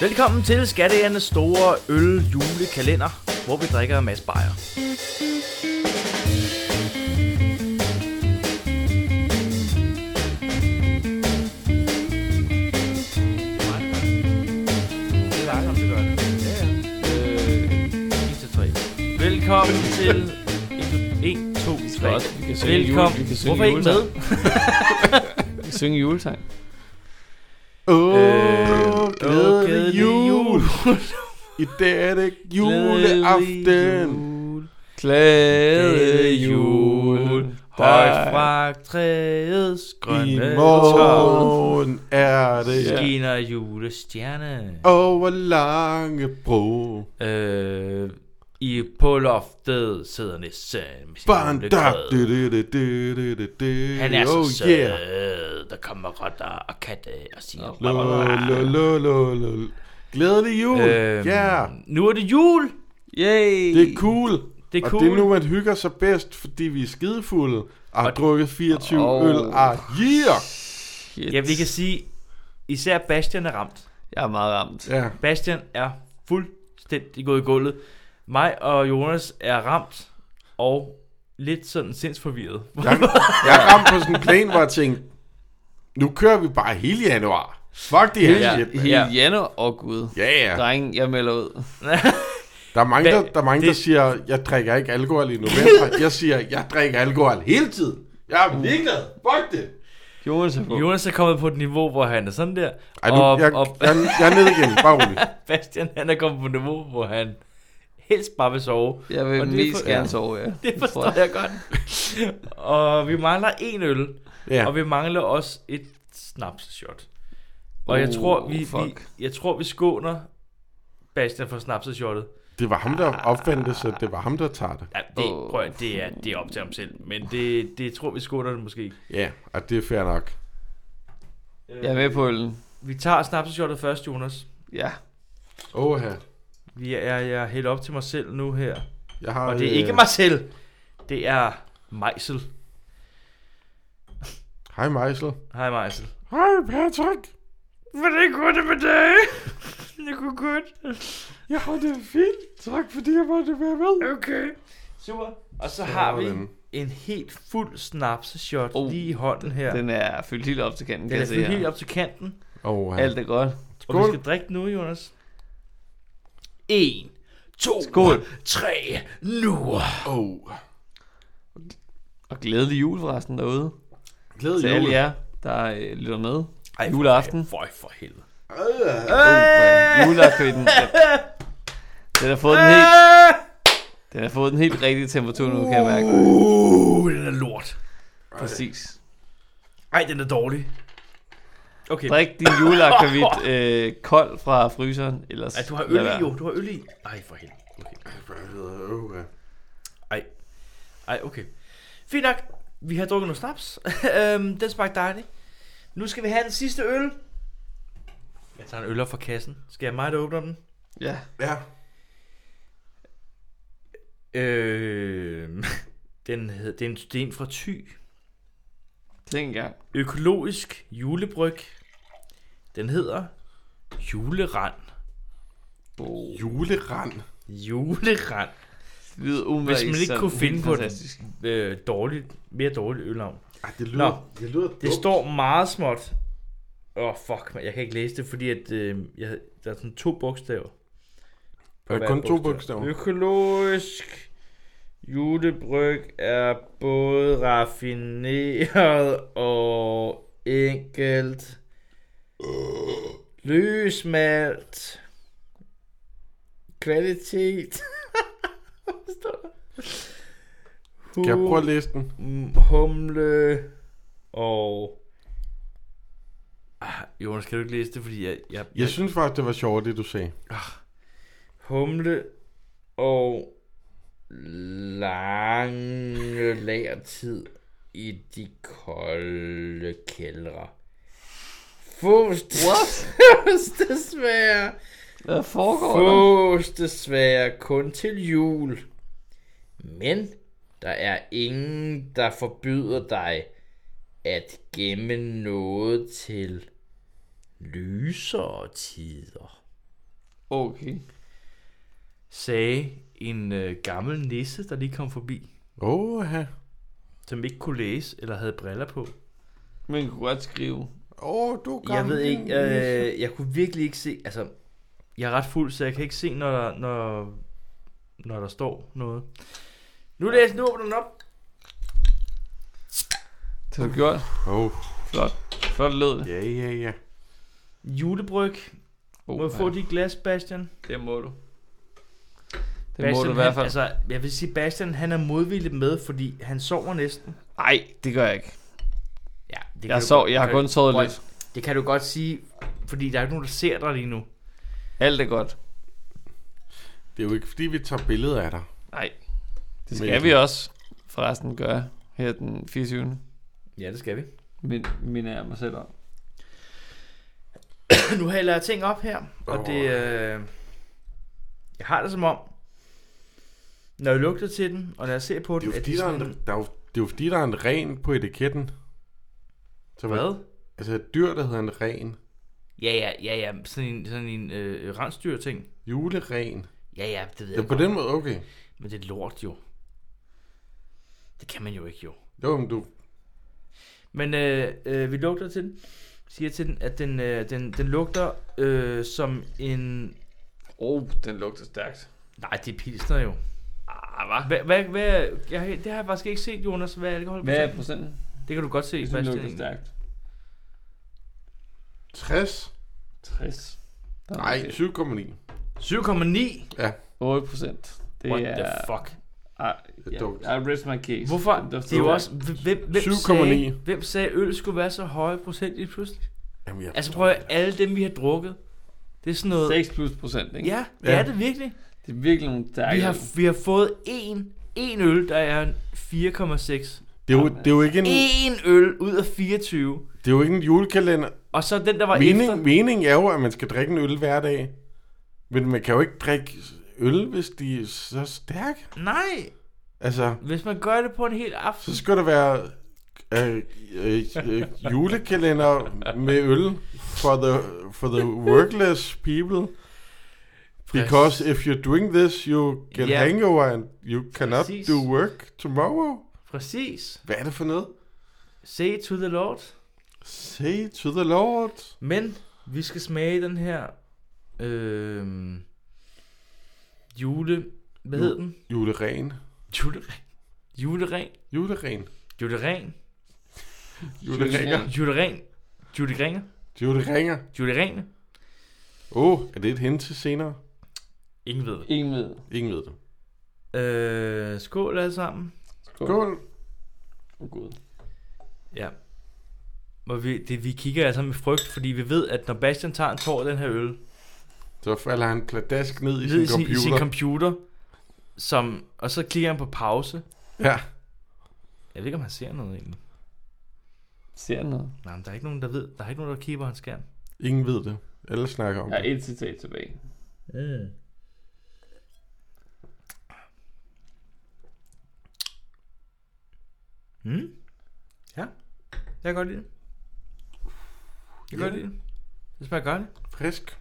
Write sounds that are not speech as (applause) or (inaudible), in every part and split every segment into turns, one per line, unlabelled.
Velkommen til Skattejernes store øl julekalender, hvor vi drikker en masse bajer. Velkommen til 1, 2, 3.
også- vi kan synge jule-
Velkommen.
vi kan synge
Hvorfor er I ikke med?
julesang. synge julesang.
Åh,
Øh,
øh,
åh,
glædelig jul. I dag er det juleaften.
Jul.
Glæde
Glæde jul. Højt fra træets
I
grønne tår.
morgen er det
Skiner julestjerne.
over lange bro.
Øh, I på loftet sidder nissen med sin
Barn, da,
julegrød.
du, du, du, du, du, du, du.
Han er så
Oh,
sød.
yeah.
Der kommer rotter og katte og siger...
Lo, lo, lo, lo, lo. Glædelig jul.
Øhm,
Ja,
Nu er det jul.
Yay!
det er cool.
Det er
Og det er
cool.
nu, man hygger sig bedst, fordi vi er skidefulde og har
Og-
drukket 24
Åh.
øl. Ah, yeah!
Shit.
Ja, vi kan sige, især Bastian er ramt.
Jeg er meget ramt.
Ja,
Bastian er fuldstændig gået i gulvet. Mig og Jonas er ramt og lidt sådan sindsforvirret.
Jeg, jeg ramte på sådan en plan, hvor jeg tænkte, nu kører vi bare hele januar. Fuck det her
Hele,
shit, mand.
hele
Ja.
januar. Åh oh, gud.
Ja, ja.
Dreng, jeg melder ud.
Der er mange, der, der, er mange, der
Det-
siger, jeg drikker ikke alkohol i
(laughs)
november. Jeg siger, jeg drikker alkohol hele tiden. Jeg er ligeglad. Fuck det.
Jonas er på.
(laughs) Jonas er kommet på et niveau, hvor han er sådan der.
Ej, nu,
og,
jeg,
og
jeg, jeg er nede igen.
(laughs)
Bare rolig.
Bastian han er kommet på et niveau, hvor han helst bare vil
(laughs)
sove.
Jeg
Og
vil
det er
mest
for-
gerne
ja.
sove, ja.
Det forstår jeg godt. (laughs) og vi mangler en øl, ja.
Ja.
og vi mangler også et snapseshot. Og jeg
Uh,
tror, vi, vi,
fuck.
jeg tror, vi skåner Bastian for snapseshottet.
Det var ham, der opfandt det, så det var ham, der tager det.
Ja, det,
Åh.
prøv, at- det, er, det er op til ham selv, men det, det tror vi skåner det måske.
Ja, og det er fair nok.
Jeg er med på øllen.
Vi tager snapseshottet først, Jonas.
Ja.
Åh, her.
Vi er, jeg er helt op til mig selv nu her.
Jeg har,
Og det er
øh,
ikke mig selv, det er Mejsel.
Hej, Meisel.
Hej Mejsel.
Hej, Patrick.
Hvordan går det med dig? Det går godt.
Jeg har det fint. Tak, fordi jeg måtte være med.
Okay. Super. Og så har vi
Sådan.
en helt fuld snapseshot
Oh,
oh, lige i hånden her. Den,
Den er fyldt helt op til kanten,
den
kan
er
jeg se
fyldt helt
her.
op til kanten.
Åh, ja.
Alt er godt.
Og vi
Skål.
skal drikke den nu, Jonas. En, to,
Skål.
tre, nu.
Åh.
Og glædelig jul forresten derude. Til
Glædelig
alle jer, der øh, lytter med.
Ej, for
Juleaften.
Føj for helvede.
Hey! Juleakvitten. Den, den har fået den helt, den har fået den helt rigtige temperatur nu, kan jeg mærke.
Uh, den er lort.
Præcis.
Ej, den er dårlig. Okay.
Drik din
(laughs)
juleakvavit øh, kold fra fryseren, ellers...
Ej, du har
lad
øl
være.
i, jo. Du har øl i. Ej, for helvede. Okay.
Åh, ja.
Ej. Ej, okay. Fint nok. Vi har drukket noget snaps. (laughs) Øhm, den smagte dejligt. Nu skal vi have den sidste øl. Jeg tager en øl op fra kassen. Skal jeg mig, der åbner den?
Ja.
Ja.
Øh, (laughs) den hed, det er en sten fra Thy.
Tænk engang.
Økologisk julebryg. Den hedder Julerand.
Oh.
Julerand.
Julerand.
Det lyder umiddelbart
Hvis man ikke
sådan
kunne finde
helt
på den
fantastisk.
øh, dårligt, mere dårligt ølnavn.
Ej, det lyder, det lyder
Det står meget småt. Åh, oh, fuck, man. jeg kan ikke læse det, fordi at, øh, jeg, der er sådan to bogstaver.
Der er
Hver
kun to
bogstav.
bogstaver.
Økologisk julebryg er både raffineret og enkelt. Løsmalt. Kvalitet. (laughs) Hvad står der?
Kan jeg prøve at læse den?
Mm, humle og... Ah, Jonas, kan du ikke læse det, fordi jeg... jeg,
Jeg synes faktisk, det var sjovt, det du sagde.
Humle og lange lagertid i de kolde kældre. Fås (laughs) det, fås det svære,
Hvad foregår der?
fås det svære kun til jul. Men der er ingen, der forbyder dig at gemme noget til lysere tider.
Okay.
sagde en øh, gammel nisse, der lige kom forbi,
Åh, ja.
som ikke kunne læse eller havde briller på.
Men kunne godt skrive.
Åh, du er gammel.
Jeg ved ikke, øh, jeg kunne virkelig ikke se, altså, jeg er ret fuld, så jeg kan ikke se, når der, når, når der står noget. Nu læs nu åbner den op.
Det har du gjort.
Åh,
Flot. Flot lød det.
ja, ja, ja.
Julebryg.
Oh,
Må jeg få dit glas, Bastian? Det
Det må du. Det må du i hvert
Han,
fald.
altså, jeg vil sige, Bastian, han er modvilligt med, fordi han sover næsten.
Nej, det gør jeg ikke.
Ja, det
Jeg, sov, jeg har
kan,
kun sovet
Prøv-
lidt.
Det kan du godt sige, fordi der er ikke nogen, der ser dig lige nu.
Alt er godt.
Det er jo ikke, fordi vi tager billeder af dig.
Nej. Det
Men-
skal vi også forresten gøre her den 24.
Ja, det skal vi.
Min, minder jeg mig selv om.
Nu hælder jeg ting op her, og det... Øh, jeg har det som om, når jeg lugter til den, og når jeg ser på
Det
den...
er jo fordi, der er,
sådan,
en, der er jo, det er jo fordi, der er en ren på etiketten. Så man-
Hvad?
Altså et dyr, der hedder en ren.
Ja, ja, ja, ja. Sådan en, sådan en øh, rensdyr-ting.
Juleren.
Ja, ja, det ved
Ja,
jeg
på
godt.
den måde, okay.
Men det er lort jo. Det kan man jo ikke jo.
Jo, men du...
Men øh, øh, vi lugter til den. Siger til den, at den, øh, den, den lugter øh, som en...
Oh, den lugter stærkt.
Nej, det er pilsner jo.
Ah, hvad?
Hvad, hvad, hvad, jeg, det har jeg faktisk ikke set, Jonas. Hvad er alkohol?
Hvad er procenten?
Det kan du godt se,
Jeg synes, den
Sebastian.
lugter stærkt.
60?
60. Der er
Nej,
måske
7,9.
7,9?
8 procent. Det
What
er...
the fuck?
Ah,
Det er
ja,
dumt.
I rest my case.
Hvorfor?
Den dufter
Det er jo
godt.
også... Hvem, hvem,
7,9.
sagde, hvem sagde, øl skulle være så høje procent lige pludselig?
Jamen, jeg...
Altså prøv at høre, alle dem, vi har drukket. Det er sådan noget...
6 plus procent, ikke?
Ja, det er
Ja.
det virkelig.
Det er virkelig nogle stærke.
Vi har, vi har fået en, en øl, der er en 4,6.
det, er jo, det, er jo ikke en,
En øl ud af 24.
det er jo ikke en julekalender.
Og så den, der var efter...
Mening, meningen er jo, at man skal drikke en øl hver dag. Men man kan jo ikke drikke øl, hvis de er så stærke.
Nej,
Altså,
hvis man gør det på en hel aften.
så skal der være øh, øh, øh, julekalender med øl for the, for the workless people. Because if you're doing this, you get
Ja.
yeah. hangover and you cannot
Præcis.
Præcis. do work tomorrow.
Præcis.
Hvad er det for noget?
Say to the Lord.
Say to the Lord.
Men vi skal smage den her øh, jule... Hvad
Ju-
hed den?
Juleren.
Juleren. Juleren.
Juleren.
Juleren.
Juleringer.
Juleren. Juleringer.
Juleringer.
Juleringer.
Åh, oh, er det et hint til senere?
Ingen ved det.
Ingen ved.
Ingen ved det.
Øh, skål alle sammen.
Skål.
Åh, Gud.
Ja. Og vi, det, vi kigger altså med frygt, fordi vi ved, at når Bastian tager en tår af den her øl,
Så falder han pladask ned i
ned i
sin
sin, i sin
computer.
computer, som, og så klikker han på pause.
ja.
Jeg ved ikke, om han ser noget egentlig.
Ser jeg noget?
Nej, men der er ikke nogen, der ved. Der er ikke nogen, der kigger på hans skærm.
Ingen ved det. Alle snakker om
Jeg har
det.
et citat tilbage.
Mm. Mm. Ja, jeg kan godt lide det. Jeg kan
Ja.
godt lide det. Det smager godt.
Frisk.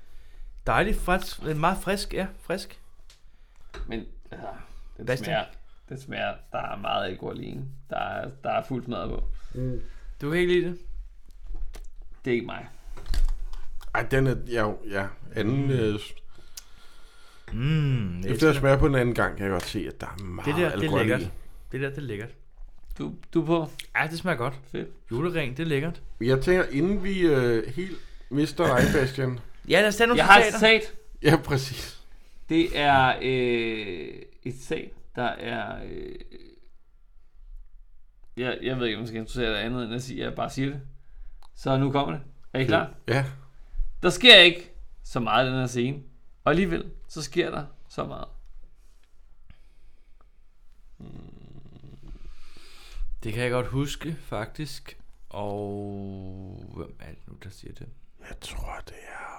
Dejligt, frisk, øh, meget frisk, ja, frisk.
Men altså, den
Bastian?
smager, den smager, der er meget alkohol i den. Der er, der er fuldt mad på.
Du kan ikke lide det?
Det er ikke mig.
Ej, den er, ja, jo, ja. Anden, øh,
Mm, jeg
efter
elsker
at smage på den anden gang, kan jeg godt se, at der er meget
Det der, det er
alkohol
lækkert.
i.
Det der, det er lækkert.
Du, du er på.
Ja, det smager godt.
Fedt.
Julering, det er lækkert.
Jeg tænker, inden vi øh, helt mister
(coughs)
dig, Bastian.
Ja, lad os tage nogle
Jeg har et
citater.
citat.
Ja, præcis.
Det er øh, et citat, der er... Øh, jeg, jeg ved ikke, om jeg skal introducere det andet, end at sige, at jeg bare siger det. Så nu kommer det. Er I klar?
Ja.
Der sker ikke så meget i den her scene. Og alligevel, så sker der så meget.
Det kan jeg godt huske, faktisk. Og hvem er det nu, der siger det?
Jeg tror, det er...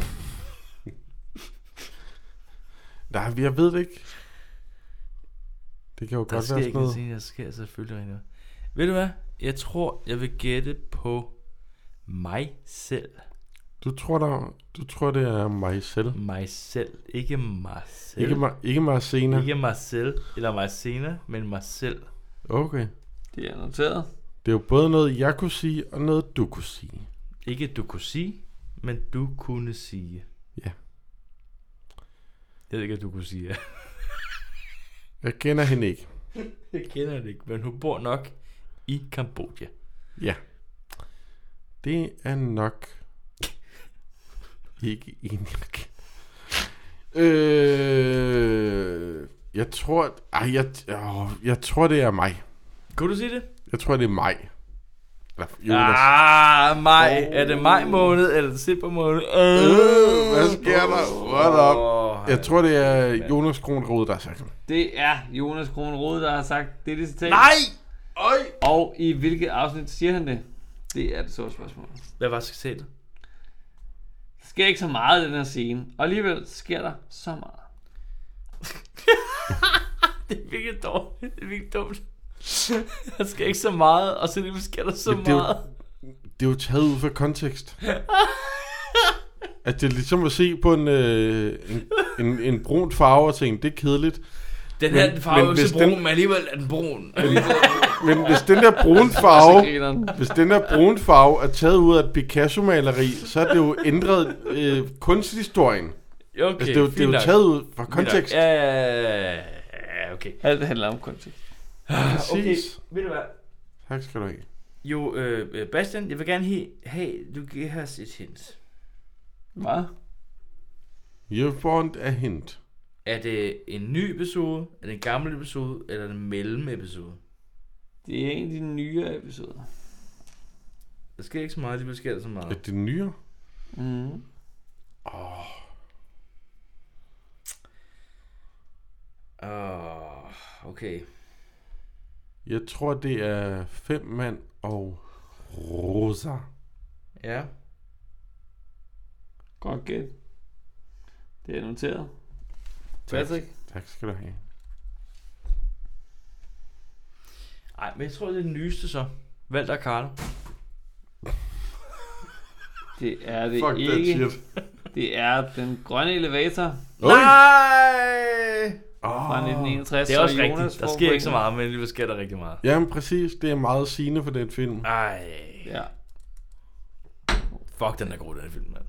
(laughs) Nej, jeg ved det ikke. Det kan jo
Der
godt
sker
være
ikke
sådan
noget.
noget.
Scene, der sker selvfølgelig ikke noget. Ved du hvad? Jeg tror, jeg vil gætte på Mig selv.
Du tror, der, du tror det er mig selv.
Mig selv. Ikke mig selv.
Ikke, mig, ikke Marcena.
Ikke mig selv, eller mig senere, men mig selv.
Okay.
Det er noteret.
Det er jo både noget, jeg kunne sige, og noget, du kunne sige.
Ikke du kunne sige, men du kunne sige.
Ja.
Jeg ved ikke, at du kunne sige.
Jeg kender hende ikke.
(laughs) Jeg kender det ikke, men hun bor nok i Kambodja.
Ja. Det er nok (laughs) ikke en, jeg kan. Øh, jeg tror... Ej, jeg, åh, jeg tror, det er mig.
Kunne du sige det?
Jeg tror, det er mig. Eller Jonas. Ah,
Ah, maj. Oh. Er det maj måned, eller december måned?
øh, hvad sker der? What up?
Oh,
Jeg tror, det er Jonas Kronrod, der har sagt det.
Det er Jonas Kron Rode, der har sagt det, det citat.
Nej! Øj!
Og i hvilket afsnit siger han det? Det er det store spørgsmål.
Hvad var citatet?
Der sker ikke så meget i den her scene, og alligevel sker der så meget.
(laughs) Det er virkelig dårligt. Det er virkelig dumt. (laughs) Der sker ikke så meget, og så lige sker der så
Men det er jo- meget. Det er jo taget ud fra
(laughs)
kontekst. At det er ligesom at se på en, øh, en, en, en brun farve og tænke, det er kedeligt.
Den her
Men-
den farve er jo
men
ikke
hvis
så brun,
den-
men alligevel er den (laughs) brun.
Men hvis den der brune farve,
Altså, Grineren.
hvis den der brune farve er taget ud af et Picasso-maleri, så er det jo ændret øh, kunsthistorien.
Okay,
Altså, det, er jo, det er jo taget ud fra kontekst.
Ja, ja, ja, ja, ja, okay. (sighs)
Alt handler om kontekst.
Okay,
Præcis.
ved du hvad?
Tak skal du have.
Jo, øh, øh, Bastian, jeg vil gerne he- have, du giver os et hint.
Hvad?
You want a hint.
Er det en ny episode, er det en gammel episode, eller er det en mellemepisode?
Det er en af de nye episoder.
Der sker ikke så meget, det sker der så
Er
meget.
det nyere? Mhm.
Mm.
Åh, oh, okay.
Jeg tror, det er fem mand og Rosa.
Ja.
Godt gæt. Det er noteret.
Tak.
Patrick?
Tak skal du have.
Ej, men jeg tror, det er den nyeste så. Valter og Karl.
Det er det
Fuck that
ikke.
shit.
Det er den grønne elevator
Oj.
Nej!
fra
Åh.
1961.
Det er også
og Jonas
rigtigt. Der
får
sker ikke så
pointen.
meget, men alligevel sker der rigtig meget.
Jamen præcis, det er meget sigende for den film.
Ej.
Ja.
Fuck, den er god, den her film, mand.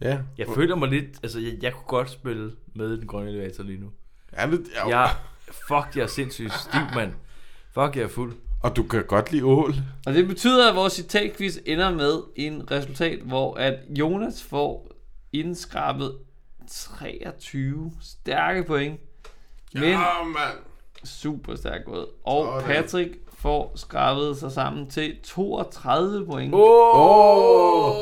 Ja.
Jeg føler mig lidt... Altså, jeg, jeg kunne godt spille med i den grønne elevator lige nu.
Er det, ja.
Jeg... Fuck, jeg er sindssygt stiv, mand. Fuck, jeg er fuld.
Og du kan godt lide ål.
Og det betyder, at vores citatquiz ender med en resultat, hvor at Jonas får indskrabet 23 stærke point. Men
mand.
super stærkt gået. Og
Sådan.
Patrick får skrabet sig sammen til 32 point.
Åh.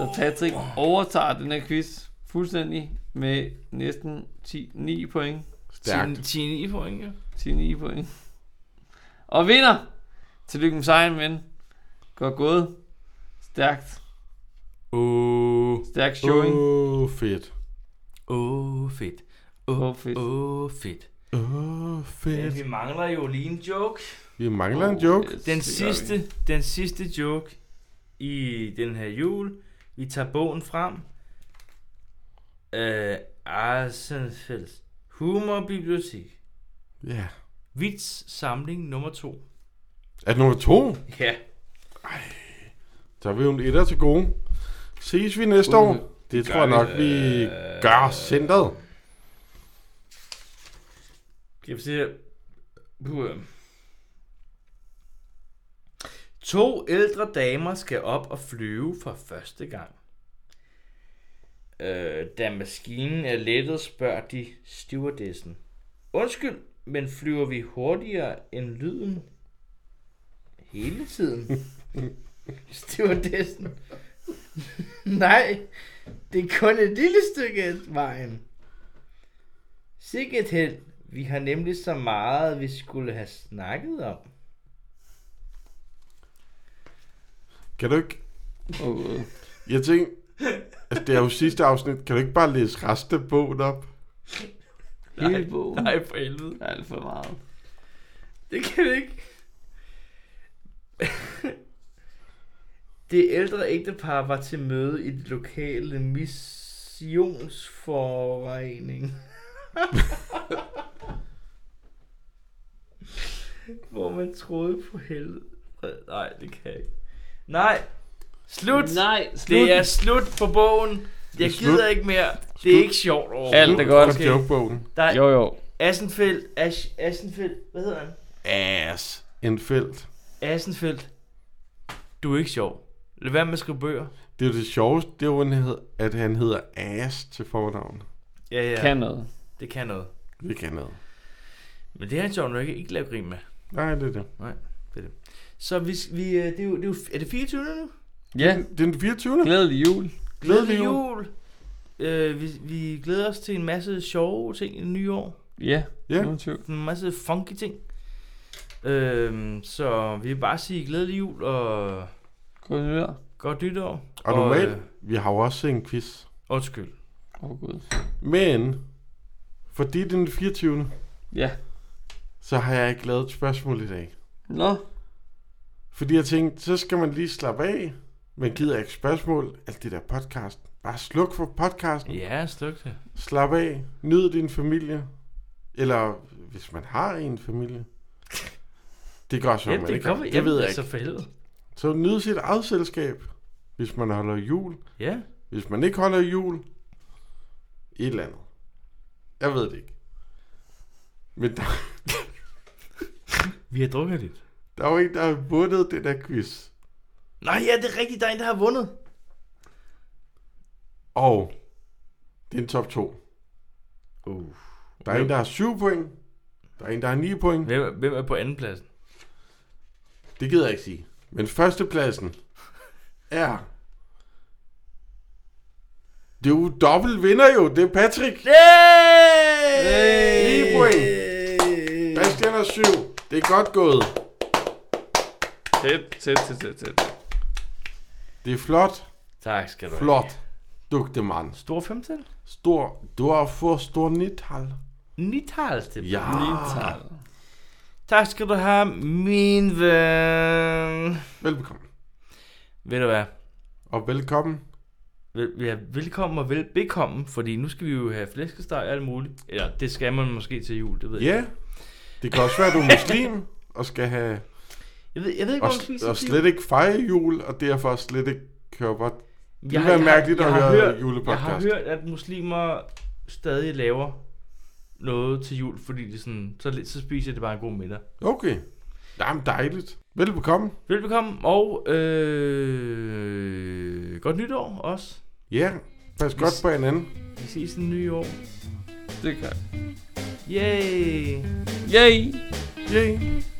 Så Patrick overtager den her quiz fuldstændig med næsten 10, 9 point.
Stærkt.
10 point, ja.
10-9 point. Og vinder! Tillykke med sejren, men godt gået. Stærkt.
Åh,
Stærkt showing.
Åh, fedt.
åh, fedt.
Åh,
Åh,
fedt.
åh, fedt.
Åh, fedt.
Vi mangler jo lige en joke.
Vi mangler en joke.
Yes,
Den
det gør vi.
sidste, den sidste joke i den her jul. Vi tager bogen frem. Øh, Arsenfels Humorbibliotek.
Ja.
Vits samling nummer 2.
Er det nummer to?
Ja.
Så er vi jo en etter til gode. Ses vi næste
Uh,
år? Det tror jeg nok, vi gør centret.
Skal vi se her. Puh, øhm. To ældre damer skal op og flyve for første gang. Øh, da maskinen er lettet, spørger de stewardessen. Undskyld, men flyver vi hurtigere end lyden? Hele tiden? stewardessen. (laughs) Nej, det er kun et lille stykke af vejen. Sikke et held. Vi har nemlig så meget, vi skulle have snakket om.
Kan du ikke...
Åh, gud.
Jeg tænkte... Altså, det er jo sidste afsnit. Kan du ikke bare læse resten af bogen op?
Hele bogen.
Nej, for helvede.
Der er alt for meget.
Det kan vi ikke. (laughs) Det ældre ægtepar var til møde i det lokale (laughs) missionsforening. Hvor man troede på helvede. Nej, det kan jeg ikke. Nej. Slut. Nej,
Nej, slut.
det er slut på bogen. Jeg
er slut.
gider ikke mere. Det er ikke sjovt overhovedet.
Alt er godt.
Okay. Jokebogen.
Der er
Jo, jo.
Assenfeldt. Asch, Assenfeldt. Hvad hedder han?
Ass. En felt.
Assenfeldt. Du er ikke sjov. Lad være med at skrive bøger.
Det er jo det sjoveste, det er jo, han hed- at han hedder Ass til fornavn.
Ja, ja.
Kan noget.
Det kan noget.
Det kan noget.
Men det er han sjovt nok ikke, ikke lave grin med.
Nej, det er det.
Så vi, vi øh, det er, jo, det er, jo, er det 24. nu?
Ja,
Det er den 24.
glædelig jul.
Glædelig jul.
Øh, vi, vi glæder os til en masse sjove ting i det nye år.
Ja,
Ja.
uden tvivl.
En masse funky ting. Øh, så vi vil bare sige glædelig jul og
Gå videre.
godt nytår.
Og
øh,
normalt, vi har jo også en quiz.
Undskyld.
Åh, oh, Gud.
Men, fordi det er den 24.
Ja.
Så har jeg ikke lavet et spørgsmål i dag.
Nå,
Fordi jeg tænkte, så skal man lige slappe af. Man gider ikke spørgsmål. Alt det der podcast. Bare sluk for podcasten.
Ja, sluk det.
Slap af. Nyd din familie. Eller hvis man har en familie. Det gør så,
Jamen,
man
det
ikke
kommer.
har. Det
Jamen,
ved jeg
altså
ikke.
for helvede.
Så nyd sit eget selskab. Hvis man holder jul.
Ja.
Hvis man ikke holder jul. Et eller andet. Jeg ved det ikke. Men der,
Vi har drukket lidt.
der er jo en, der har vundet den der quiz.
Nej, ja, det er rigtigt. Der er en, der har vundet.
Og det er en top 2.
Uh.
Der er en, der har 7 point. Der er en, der har 9 point.
Hvem, er- hvem er på anden pladsen?
Det gider jeg ikke sige. Men førstepladsen er... Det er jo dobbelt vinder jo. Det er Patrick.
Hey!
Ni point. Christian har 7. Det er godt gået.
tæt, tæt, tæt, tæt, tæt.
Det er flot.
Tak skal du have.
Flot. Dygtig mand.
Stor femtal?
Stor. Du har fået stor nital.
Nitals til.
Ja.
Ah.
Tak skal du have, min ven.
Velbekomme.
Ved du hvad?
Og velkommen.
Vel, ja, velkommen og velbekomme, fordi nu skal vi jo have flæskesteg og alt muligt. Eller det skal man måske til jul, det ved jeg.
Ja. Det kan også være, at du er muslim og skal have
ikke. Jeg ved, jeg ved ikke,
Og,
hvor man spiser
og
til
slet ikke fejre jul, og derfor slet ikke køre bort.
jul.
ville være mærkeligt at
jeg har
høre
hørt- Jeg har
julepodcast.
hørt, at muslimer stadig laver noget til jul, fordi det sådan, så, lidt- så spiser jeg det bare en god middag.
Okay. Jamen dejligt. Velbekomme.
Velbekomme, og øh, godt nytår også.
Ja, pas godt på hinanden.
Vi ses i det nye år.
Det gør jeg.
Yay!
Yay!
Yay.